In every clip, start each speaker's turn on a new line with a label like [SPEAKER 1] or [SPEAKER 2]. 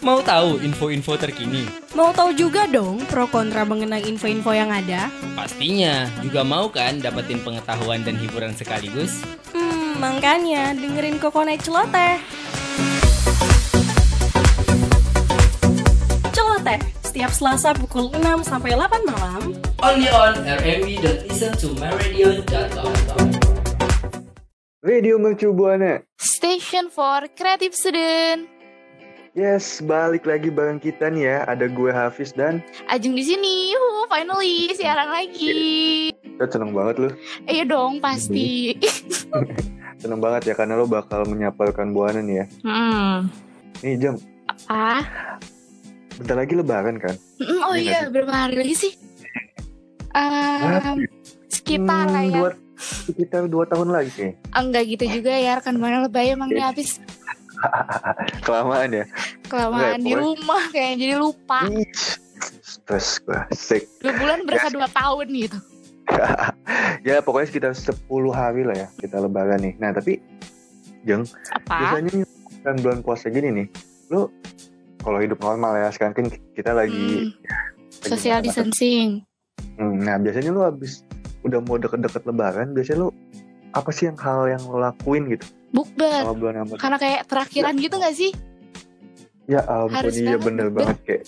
[SPEAKER 1] Mau tahu info-info terkini?
[SPEAKER 2] Mau tahu juga dong pro kontra mengenai info-info yang ada?
[SPEAKER 1] Pastinya, juga mau kan dapetin pengetahuan dan hiburan sekaligus?
[SPEAKER 2] Hmm, makanya dengerin Kokonai Celoteh. Celoteh, setiap Selasa pukul 6 sampai 8 malam
[SPEAKER 1] Only on RMB dan listen to myradio.com.
[SPEAKER 3] Radio Mercu Buana.
[SPEAKER 4] Station for Creative Student.
[SPEAKER 3] Yes, balik lagi bareng kita nih ya. Ada gue Hafiz dan
[SPEAKER 4] Ajeng di sini. Yuhu, finally siaran lagi.
[SPEAKER 3] Kita seneng banget lu.
[SPEAKER 4] Iya dong, pasti.
[SPEAKER 3] Seneng banget ya karena lo bakal menyapa rekan Buana nih ya.
[SPEAKER 4] Hmm.
[SPEAKER 3] Nih jam,
[SPEAKER 4] Ah.
[SPEAKER 3] bentar lagi lebaran kan?
[SPEAKER 4] Mm, Oh
[SPEAKER 3] Iya
[SPEAKER 4] iya, berapa hari lagi sih? Um, sekitar lah
[SPEAKER 3] Hmm,
[SPEAKER 4] ya.
[SPEAKER 3] dua, sekitar dua tahun lagi sih.
[SPEAKER 4] Enggak gitu juga ya, rekan mana lebay emang nih habis
[SPEAKER 3] Kelamaan ya.
[SPEAKER 4] kelamaan di
[SPEAKER 3] Repot.
[SPEAKER 4] rumah kayaknya jadi lupa.
[SPEAKER 3] Ih, Stres gue, sick.
[SPEAKER 4] Dua bulan berasa dua tahun gitu.
[SPEAKER 3] Ya pokoknya sekitar 10 hari lah ya kita lebaran nih. Nah tapi, Jeng,
[SPEAKER 4] Apa?
[SPEAKER 3] biasanya nih, kan bulan puasa gini nih, lo kalau hidup normal ya sekarang kan kita lagi
[SPEAKER 4] Hmm, social
[SPEAKER 3] lagi-
[SPEAKER 4] distancing.
[SPEAKER 3] Hmm, nah biasanya lu habis udah mau deket-deket lebaran, biasanya lu apa sih yang hal yang lo lakuin gitu
[SPEAKER 4] Bukber.
[SPEAKER 3] selama bulan Ramadan?
[SPEAKER 4] Karena kayak terakhiran gitu gak sih?
[SPEAKER 3] Ya ampun,
[SPEAKER 4] harus
[SPEAKER 3] iya
[SPEAKER 4] banget
[SPEAKER 3] bener
[SPEAKER 4] bukber.
[SPEAKER 3] banget kayak,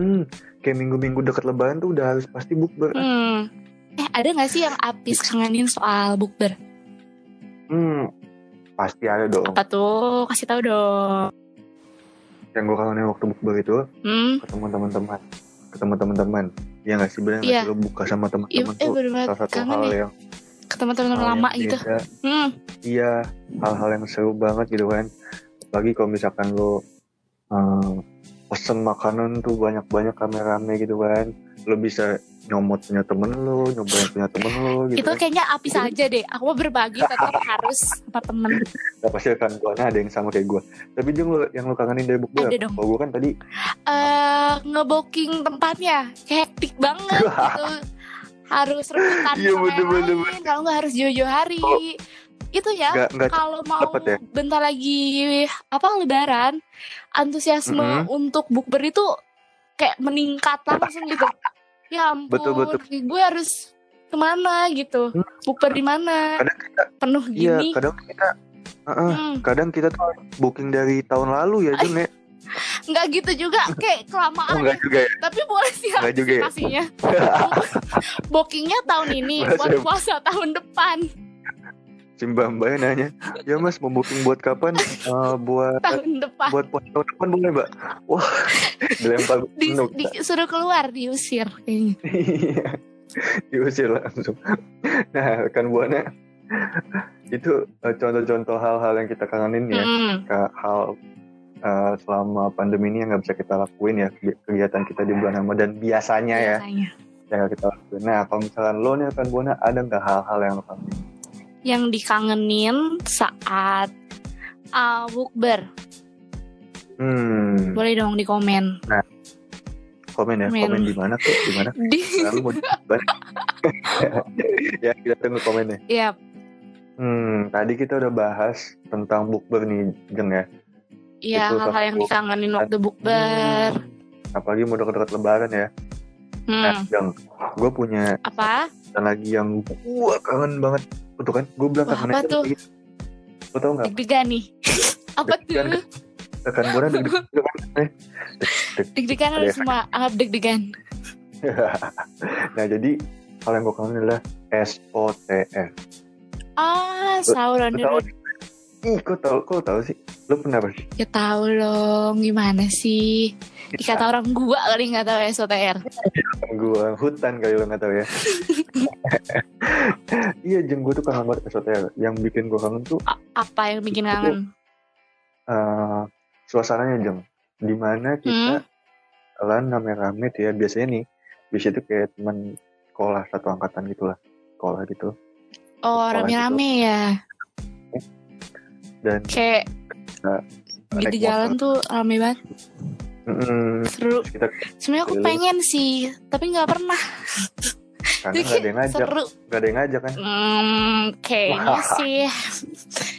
[SPEAKER 3] hmm, kayak minggu-minggu deket lebaran tuh udah harus pasti bukber. Hmm,
[SPEAKER 4] Hmm. Eh, ada gak sih yang Apis kangenin soal bukber?
[SPEAKER 3] Hmm, pasti ada dong.
[SPEAKER 4] Apa tuh? Kasih tahu dong.
[SPEAKER 3] Yang gue kangenin waktu bukber itu
[SPEAKER 4] Hmm.
[SPEAKER 3] ketemu teman-teman, ketemu teman-teman. Ya nggak sih bener nggak
[SPEAKER 4] Iya.
[SPEAKER 3] sih lo buka sama
[SPEAKER 4] Iya,
[SPEAKER 3] teman-teman
[SPEAKER 4] eh
[SPEAKER 3] tuh
[SPEAKER 4] bener banget
[SPEAKER 3] salah satu
[SPEAKER 4] kangen
[SPEAKER 3] hal
[SPEAKER 4] ya
[SPEAKER 3] yang
[SPEAKER 4] ketemu teman-teman
[SPEAKER 3] hal yang
[SPEAKER 4] lama gitu.
[SPEAKER 3] beda.
[SPEAKER 4] Hmm.
[SPEAKER 3] Iya, hal-hal yang seru banget gitu kan. Apalagi kalau misalkan lo eh, pesen makanan tuh banyak-banyak rame-rame gitu kan. Lo bisa nyomot punya temen lo, nyobain punya temen lo gitu
[SPEAKER 4] Itu
[SPEAKER 3] kan.
[SPEAKER 4] kayaknya Apis aja deh. Aku mau berbagi tetap harus sama temen.
[SPEAKER 3] Nah, pasti akan gua ada yang sama kayak gue. Tapi Jung, lo, yang lo kangenin dari bukber
[SPEAKER 4] Ada
[SPEAKER 3] apa?
[SPEAKER 4] dong.
[SPEAKER 3] Kalau gue kan tadi,
[SPEAKER 4] Eh, ngeboking tempatnya kayak hektik banget gitu. Harus
[SPEAKER 3] Iya,
[SPEAKER 4] rebutan sama yang
[SPEAKER 3] bener-bener,
[SPEAKER 4] lain. Kalau nggak harus jojo hari.
[SPEAKER 3] Kalau-
[SPEAKER 4] Itu ya.
[SPEAKER 3] nggak nggak
[SPEAKER 4] kalau mau
[SPEAKER 3] dapet ya?
[SPEAKER 4] bentar lagi apa lebaran antusiasme
[SPEAKER 3] Mm-mm.
[SPEAKER 4] untuk bukber itu kayak meningkat langsung gitu ya ampun
[SPEAKER 3] Betul, betul. Mm.
[SPEAKER 4] gue harus kemana gitu bukber di mana
[SPEAKER 3] Kadang kita,
[SPEAKER 4] penuh
[SPEAKER 3] iya
[SPEAKER 4] gini
[SPEAKER 3] kadang kita, Heeh,
[SPEAKER 4] Hmm,
[SPEAKER 3] kadang kita tuh booking dari tahun lalu ya Jung ya.
[SPEAKER 4] nggak gitu juga kayak
[SPEAKER 3] Oh,
[SPEAKER 4] kelamaan
[SPEAKER 3] enggak juga ya,
[SPEAKER 4] tapi boleh sih
[SPEAKER 3] enggak juga ya.
[SPEAKER 4] antisipasinya bookingnya tahun ini
[SPEAKER 3] Berasa
[SPEAKER 4] buat
[SPEAKER 3] ya.
[SPEAKER 4] puasa tahun depan
[SPEAKER 3] Si mbak mbaknya nanya, ya mas mau booking buat kapan? Eh, buat
[SPEAKER 4] tahun depan
[SPEAKER 3] buat puasa tahun depan boleh mbak wah dilempar
[SPEAKER 4] Di-
[SPEAKER 3] penuh
[SPEAKER 4] disuruh keluar diusir kayaknya
[SPEAKER 3] Iya. diusir langsung nah rekan buana itu eh, contoh-contoh hal-hal yang kita kangenin ya
[SPEAKER 4] Mm-mm.
[SPEAKER 3] Ke- hal eh, selama pandemi ini yang nggak bisa kita lakuin ya ke- kegiatan kita di bulan Ramadan biasanya ya
[SPEAKER 4] biasanya.
[SPEAKER 3] yang nggak kita lakuin nah kalau misalkan lo nih rekan buana ada nggak hal-hal yang lo kangenin
[SPEAKER 4] yang dikangenin saat uh, bukber
[SPEAKER 3] hmm
[SPEAKER 4] boleh dong di komen
[SPEAKER 3] komen ya
[SPEAKER 4] Komen.
[SPEAKER 3] komen di mana tuh di mana
[SPEAKER 4] di
[SPEAKER 3] lalu mau di ya kita tunggu komennya
[SPEAKER 4] ya
[SPEAKER 3] Hmm, tadi kita udah bahas tentang bukber nih, Jeng ya.
[SPEAKER 4] ya
[SPEAKER 3] Itu
[SPEAKER 4] hal-hal yang
[SPEAKER 3] satu.
[SPEAKER 4] dikangenin waktu bukber
[SPEAKER 3] Hmm, Apalagi mau deket-deket lebaran ya. Nah,
[SPEAKER 4] hmm.
[SPEAKER 3] Jeng, gue punya
[SPEAKER 4] apa
[SPEAKER 3] yang lagi yang gue kangen banget. Itu kan, gue bilang
[SPEAKER 4] Wah,
[SPEAKER 3] kangen
[SPEAKER 4] apa
[SPEAKER 3] aja
[SPEAKER 4] tuh?
[SPEAKER 3] gitu. Lo tau gak?
[SPEAKER 4] deg-degan nih apa
[SPEAKER 3] Deg-degan, kan?
[SPEAKER 4] tuh
[SPEAKER 3] Rekan gue deg deg
[SPEAKER 4] deg-degan harus
[SPEAKER 3] Ada
[SPEAKER 4] semua anggap deg-degan
[SPEAKER 3] Nah, jadi hal yang gue kangen adalah SOTR.
[SPEAKER 4] ah sahur on
[SPEAKER 3] Lo
[SPEAKER 4] the
[SPEAKER 3] tau?
[SPEAKER 4] road.
[SPEAKER 3] Ih, kok tau, kok lo tau sih? Lo pernah pasti?
[SPEAKER 4] ya tahu dong gimana sih
[SPEAKER 3] Iya.
[SPEAKER 4] dikata orang gua kali nggak tahu SOTR
[SPEAKER 3] gua hutan kali lo nggak tahu ya iya jeng gue tuh kangen banget SOTR yang bikin gue kangen tuh
[SPEAKER 4] A- apa yang bikin kangen
[SPEAKER 3] eh, suasananya jeng dimana kita
[SPEAKER 4] Hmm.
[SPEAKER 3] lan rame-rame tuh ya biasanya nih biasanya tuh kayak teman sekolah satu angkatan gitulah sekolah gitu
[SPEAKER 4] oh
[SPEAKER 3] Sekolah
[SPEAKER 4] rame-rame ya
[SPEAKER 3] dan
[SPEAKER 4] kayak
[SPEAKER 3] Nah, naik
[SPEAKER 4] di jalan tuh rame banget
[SPEAKER 3] mm,
[SPEAKER 4] seru
[SPEAKER 3] terus kita
[SPEAKER 4] Sebenarnya aku
[SPEAKER 3] Dulu.
[SPEAKER 4] pengen sih, tapi nggak pernah.
[SPEAKER 3] karena nggak ada yang ngajak
[SPEAKER 4] Seru.
[SPEAKER 3] nggak ada yang ngajak kan
[SPEAKER 4] Hmm, kayaknya
[SPEAKER 3] Wah,
[SPEAKER 4] sih.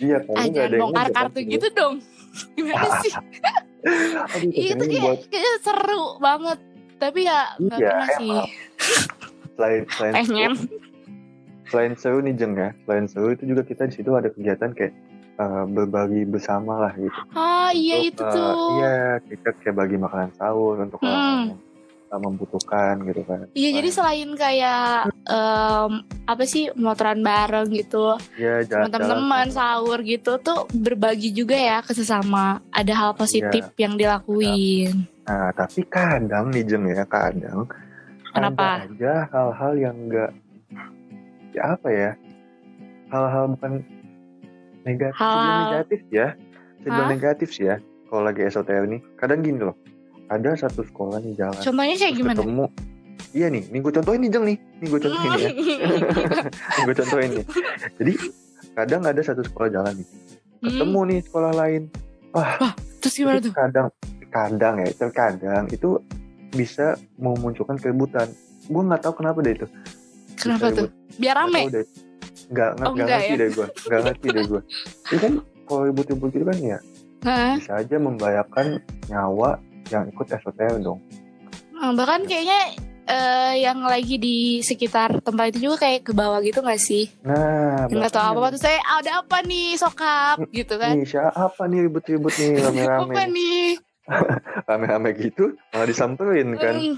[SPEAKER 3] iya kalau
[SPEAKER 4] Ah,
[SPEAKER 3] nggak
[SPEAKER 4] jangan
[SPEAKER 3] ada yang
[SPEAKER 4] bongkar
[SPEAKER 3] ngajak kan.
[SPEAKER 4] kartu gitu dong. Gimana sih?
[SPEAKER 3] Aduh,
[SPEAKER 4] Iya, itu
[SPEAKER 3] ini
[SPEAKER 4] kayak,
[SPEAKER 3] buat
[SPEAKER 4] kayak seru banget tapi ya nggak
[SPEAKER 3] Iya,
[SPEAKER 4] pernah sih
[SPEAKER 3] emang. selain selain
[SPEAKER 4] pengen
[SPEAKER 3] selain seru nih Jeng ya selain seru itu juga kita di situ ada kegiatan kayak eh, berbagi bersama lah gitu
[SPEAKER 4] ah iya itu
[SPEAKER 3] eh,
[SPEAKER 4] tuh
[SPEAKER 3] iya kita kayak bagi makanan sahur untuk orang
[SPEAKER 4] Hmm.
[SPEAKER 3] yang eh, membutuhkan gitu kan
[SPEAKER 4] iya jadi selain kayak em, apa sih motoran bareng gitu
[SPEAKER 3] iya
[SPEAKER 4] sama
[SPEAKER 3] jalan-jalan
[SPEAKER 4] teman-teman sahur gitu tuh berbagi juga ya ke sesama ada
[SPEAKER 3] Iya.
[SPEAKER 4] hal positif yang dilakuin
[SPEAKER 3] nah tapi kadang nih Jeng ya kadang
[SPEAKER 4] Kenapa?
[SPEAKER 3] Iya. ada aja hal-hal yang enggak ya apa ya hal-hal bukan negatif sebelum
[SPEAKER 4] Hal-hal-
[SPEAKER 3] negatif ya sebelum
[SPEAKER 4] Hah?
[SPEAKER 3] negatif sih ya kalau lagi SOTL nih kadang gini loh ada satu sekolah nih jalan
[SPEAKER 4] contohnya kayak
[SPEAKER 3] terus
[SPEAKER 4] gimana Hmm,
[SPEAKER 3] ketemu iya nih nih gue contohin nih jeng nih nih gue contohin ya nih gue contohin nih jadi kadang ada satu sekolah jalan nih ketemu nih sekolah lain
[SPEAKER 4] Hmm. terus gimana
[SPEAKER 3] Itu
[SPEAKER 4] tuh
[SPEAKER 3] kadang kadang ya terkadang itu bisa memunculkan keributan gue nggak tahu kenapa deh itu Bisa
[SPEAKER 4] kenapa tuh
[SPEAKER 3] ribut.
[SPEAKER 4] biar
[SPEAKER 3] Nggak
[SPEAKER 4] rame
[SPEAKER 3] tahu deh. nggak nggak
[SPEAKER 4] Oh,
[SPEAKER 3] nggak
[SPEAKER 4] nggak
[SPEAKER 3] ngerti
[SPEAKER 4] ya?
[SPEAKER 3] deh gue nggak ngerti deh gue itu kan kalau ribut-ribut gitu kan ya
[SPEAKER 4] Hah?
[SPEAKER 3] bisa aja membahayakan nyawa yang ikut SOTL dong
[SPEAKER 4] Nah, bahkan kayaknya eh, yang lagi di sekitar tempat itu juga kayak ke bawah gitu gak sih?
[SPEAKER 3] nah
[SPEAKER 4] Enggak tahu
[SPEAKER 3] makanya
[SPEAKER 4] apa-apa terus saya "Ah, ada apa nih sokap
[SPEAKER 3] Hmm,
[SPEAKER 4] gitu kan.
[SPEAKER 3] nih siapa nih ribut-ribut nih rame-rame
[SPEAKER 4] Apa nih?
[SPEAKER 3] rame-rame gitu malah disamperin kan
[SPEAKER 4] Mm,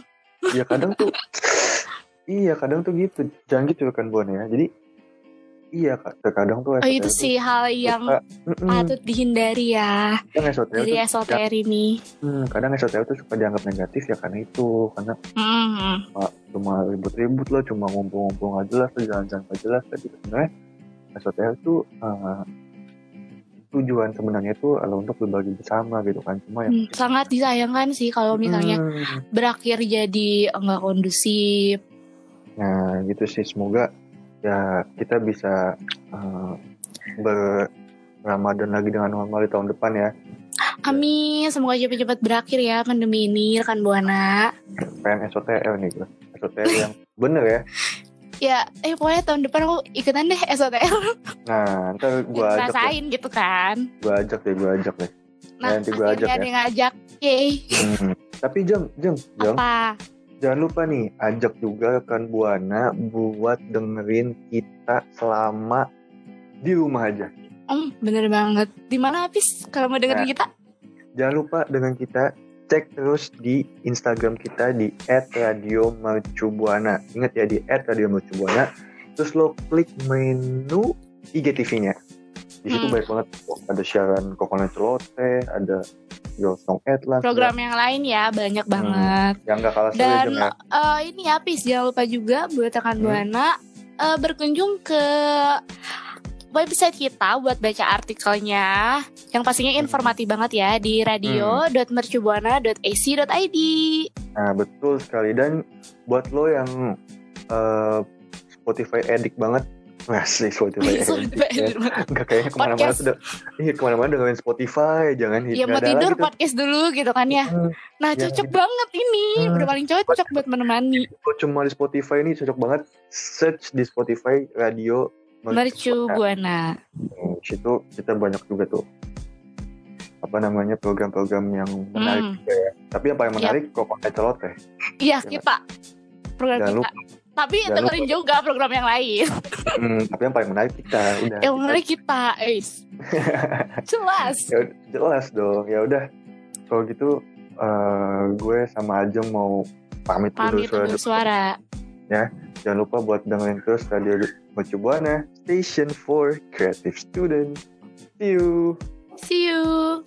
[SPEAKER 3] ya kadang tuh iya kadang tuh gitu jangan gitu kan Bon ya jadi iya Kak, terkadang tuh
[SPEAKER 4] Oh, itu
[SPEAKER 3] SOTR
[SPEAKER 4] sih hal
[SPEAKER 3] tuh
[SPEAKER 4] yang
[SPEAKER 3] suka- Mm-mm,
[SPEAKER 4] patut dihindari ya
[SPEAKER 3] kadang SOTR
[SPEAKER 4] dari
[SPEAKER 3] tuh-
[SPEAKER 4] SOTR ini.
[SPEAKER 3] hmm, kadang SOTR tuh suka dianggap negatif ya karena itu karena
[SPEAKER 4] Mm.
[SPEAKER 3] cuma, cuma ribut-ribut lah cuma ngumpul-ngumpul nggak jelas tuh jalan-jalan nggak jelas tapi sebenarnya SOTR tuh eh, tujuan sebenarnya tuh adalah untuk berbagi bersama gitu kan cuma yang
[SPEAKER 4] Mm, Sangat disayangkan sih kalau misalnya
[SPEAKER 3] Hmm.
[SPEAKER 4] berakhir jadi enggak kondusif.
[SPEAKER 3] Nah, gitu sih semoga ya kita bisa eh, ber Ramadan lagi dengan normal di tahun depan ya.
[SPEAKER 4] Amin, semoga cepat-cepat berakhir ya pandemi ini rekan Buana.
[SPEAKER 3] Pengen SOTL nih gue. SOTL yang bener ya.
[SPEAKER 4] Ya, eh pokoknya tahun depan aku ikutan deh SOTR.
[SPEAKER 3] Nah, ntar gue ajak
[SPEAKER 4] Biar
[SPEAKER 3] deh.
[SPEAKER 4] ngerasain gitu kan.
[SPEAKER 3] Gue ajak deh, gue ajak deh.
[SPEAKER 4] Nah,
[SPEAKER 3] Nanti gua
[SPEAKER 4] akhirnya
[SPEAKER 3] ajak ya.
[SPEAKER 4] ada yang ngajak. Yeay.
[SPEAKER 3] Hmm. Tapi jeng, jeng, jeng.
[SPEAKER 4] Apa?
[SPEAKER 3] Jangan lupa nih, ajak juga rekan Buana buat dengerin kita selama di rumah aja.
[SPEAKER 4] Om, bener banget. Di mana habis kalau mau dengerin
[SPEAKER 3] Nah.
[SPEAKER 4] kita?
[SPEAKER 3] Jangan lupa dengan kita cek terus di Instagram kita di @radiomercubuana. Ingat ya di @radiomercubuana. Terus lo klik menu IGTV-nya. Di situ
[SPEAKER 4] Hmm.
[SPEAKER 3] banyak banget Oh, ada siaran Kokonan Celote, ada Yosong Atlas,
[SPEAKER 4] Program yang lain ya, banyak
[SPEAKER 3] Hmm.
[SPEAKER 4] banget.
[SPEAKER 3] yang nggak kalah seru ya,
[SPEAKER 4] Dan
[SPEAKER 3] Jeng, ya.
[SPEAKER 4] eh, ini ya, Pis, jangan lupa juga buat rekan
[SPEAKER 3] Hmm.
[SPEAKER 4] Buana eh, berkunjung ke website kita buat baca artikelnya yang pastinya
[SPEAKER 3] Hmm.
[SPEAKER 4] informatif banget ya di radio.mercubuana.ac.id.
[SPEAKER 3] Nah, betul sekali. Dan buat lo yang eh, Spotify edik banget, masih Spotify edik. ya. Nggak kayaknya kemana-mana
[SPEAKER 4] Podcast.
[SPEAKER 3] tuh udah- Iya, kemana-mana dengerin Spotify, jangan nggak Iya,
[SPEAKER 4] Ya mau
[SPEAKER 3] ada lagi
[SPEAKER 4] tidur
[SPEAKER 3] tuh.
[SPEAKER 4] podcast dulu gitu kan ya.
[SPEAKER 3] Hmm.
[SPEAKER 4] Nah,
[SPEAKER 3] Ya,
[SPEAKER 4] cocok
[SPEAKER 3] gitu.
[SPEAKER 4] banget ini.
[SPEAKER 3] Hmm.
[SPEAKER 4] Udah paling cocok buat menemani.
[SPEAKER 3] Kalau cuma di Spotify ini cocok banget search di Spotify radio
[SPEAKER 4] Mercu Buana.
[SPEAKER 3] Nah, di situ kita banyak juga tuh apa namanya program-program yang menarik
[SPEAKER 4] Hmm.
[SPEAKER 3] juga ya tapi yang paling
[SPEAKER 4] Yap.
[SPEAKER 3] menarik kok pakai celot ya? teh
[SPEAKER 4] Iya,
[SPEAKER 3] Jangan-
[SPEAKER 4] kita. Program
[SPEAKER 3] jangan
[SPEAKER 4] kita.
[SPEAKER 3] lupa
[SPEAKER 4] Tapi
[SPEAKER 3] jangan
[SPEAKER 4] dengerin juga program yang lain.
[SPEAKER 3] Hmm, tapi yang paling menarik kita udah
[SPEAKER 4] Yang menarik kita, Eis. Jelas.
[SPEAKER 3] Ya ud- jelas dong ya udah kalau gitu eh, gue sama Ajeng mau pamit,
[SPEAKER 4] Pamit
[SPEAKER 3] dulu
[SPEAKER 4] untuk suara.
[SPEAKER 3] jangan lupa buat dengerin terus radio Mercu Buana Station for Creative Student see you
[SPEAKER 4] See you.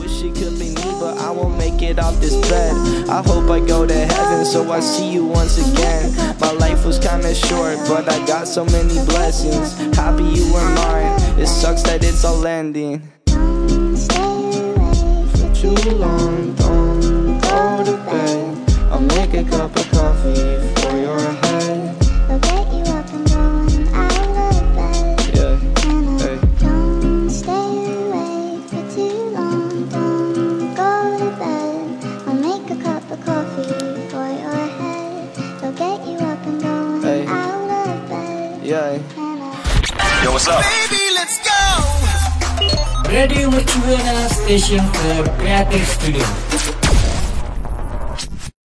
[SPEAKER 5] Wish it could be me, but I won't make it off this bed. I hope I go to heaven, so I see you once again. My life was kinda short, but I got so many blessings. Happy you were mine. It sucks that it's all ending. For too long, don't go to bed. I'll make a cup of coffee for your head. Yeah, hey.
[SPEAKER 6] Get you up and going
[SPEAKER 5] Hey.
[SPEAKER 6] out of bed
[SPEAKER 5] Yeah.
[SPEAKER 6] and I
[SPEAKER 5] Yo, what's up? Baby, let's go.
[SPEAKER 1] Radio Mercubuana, station for creative student.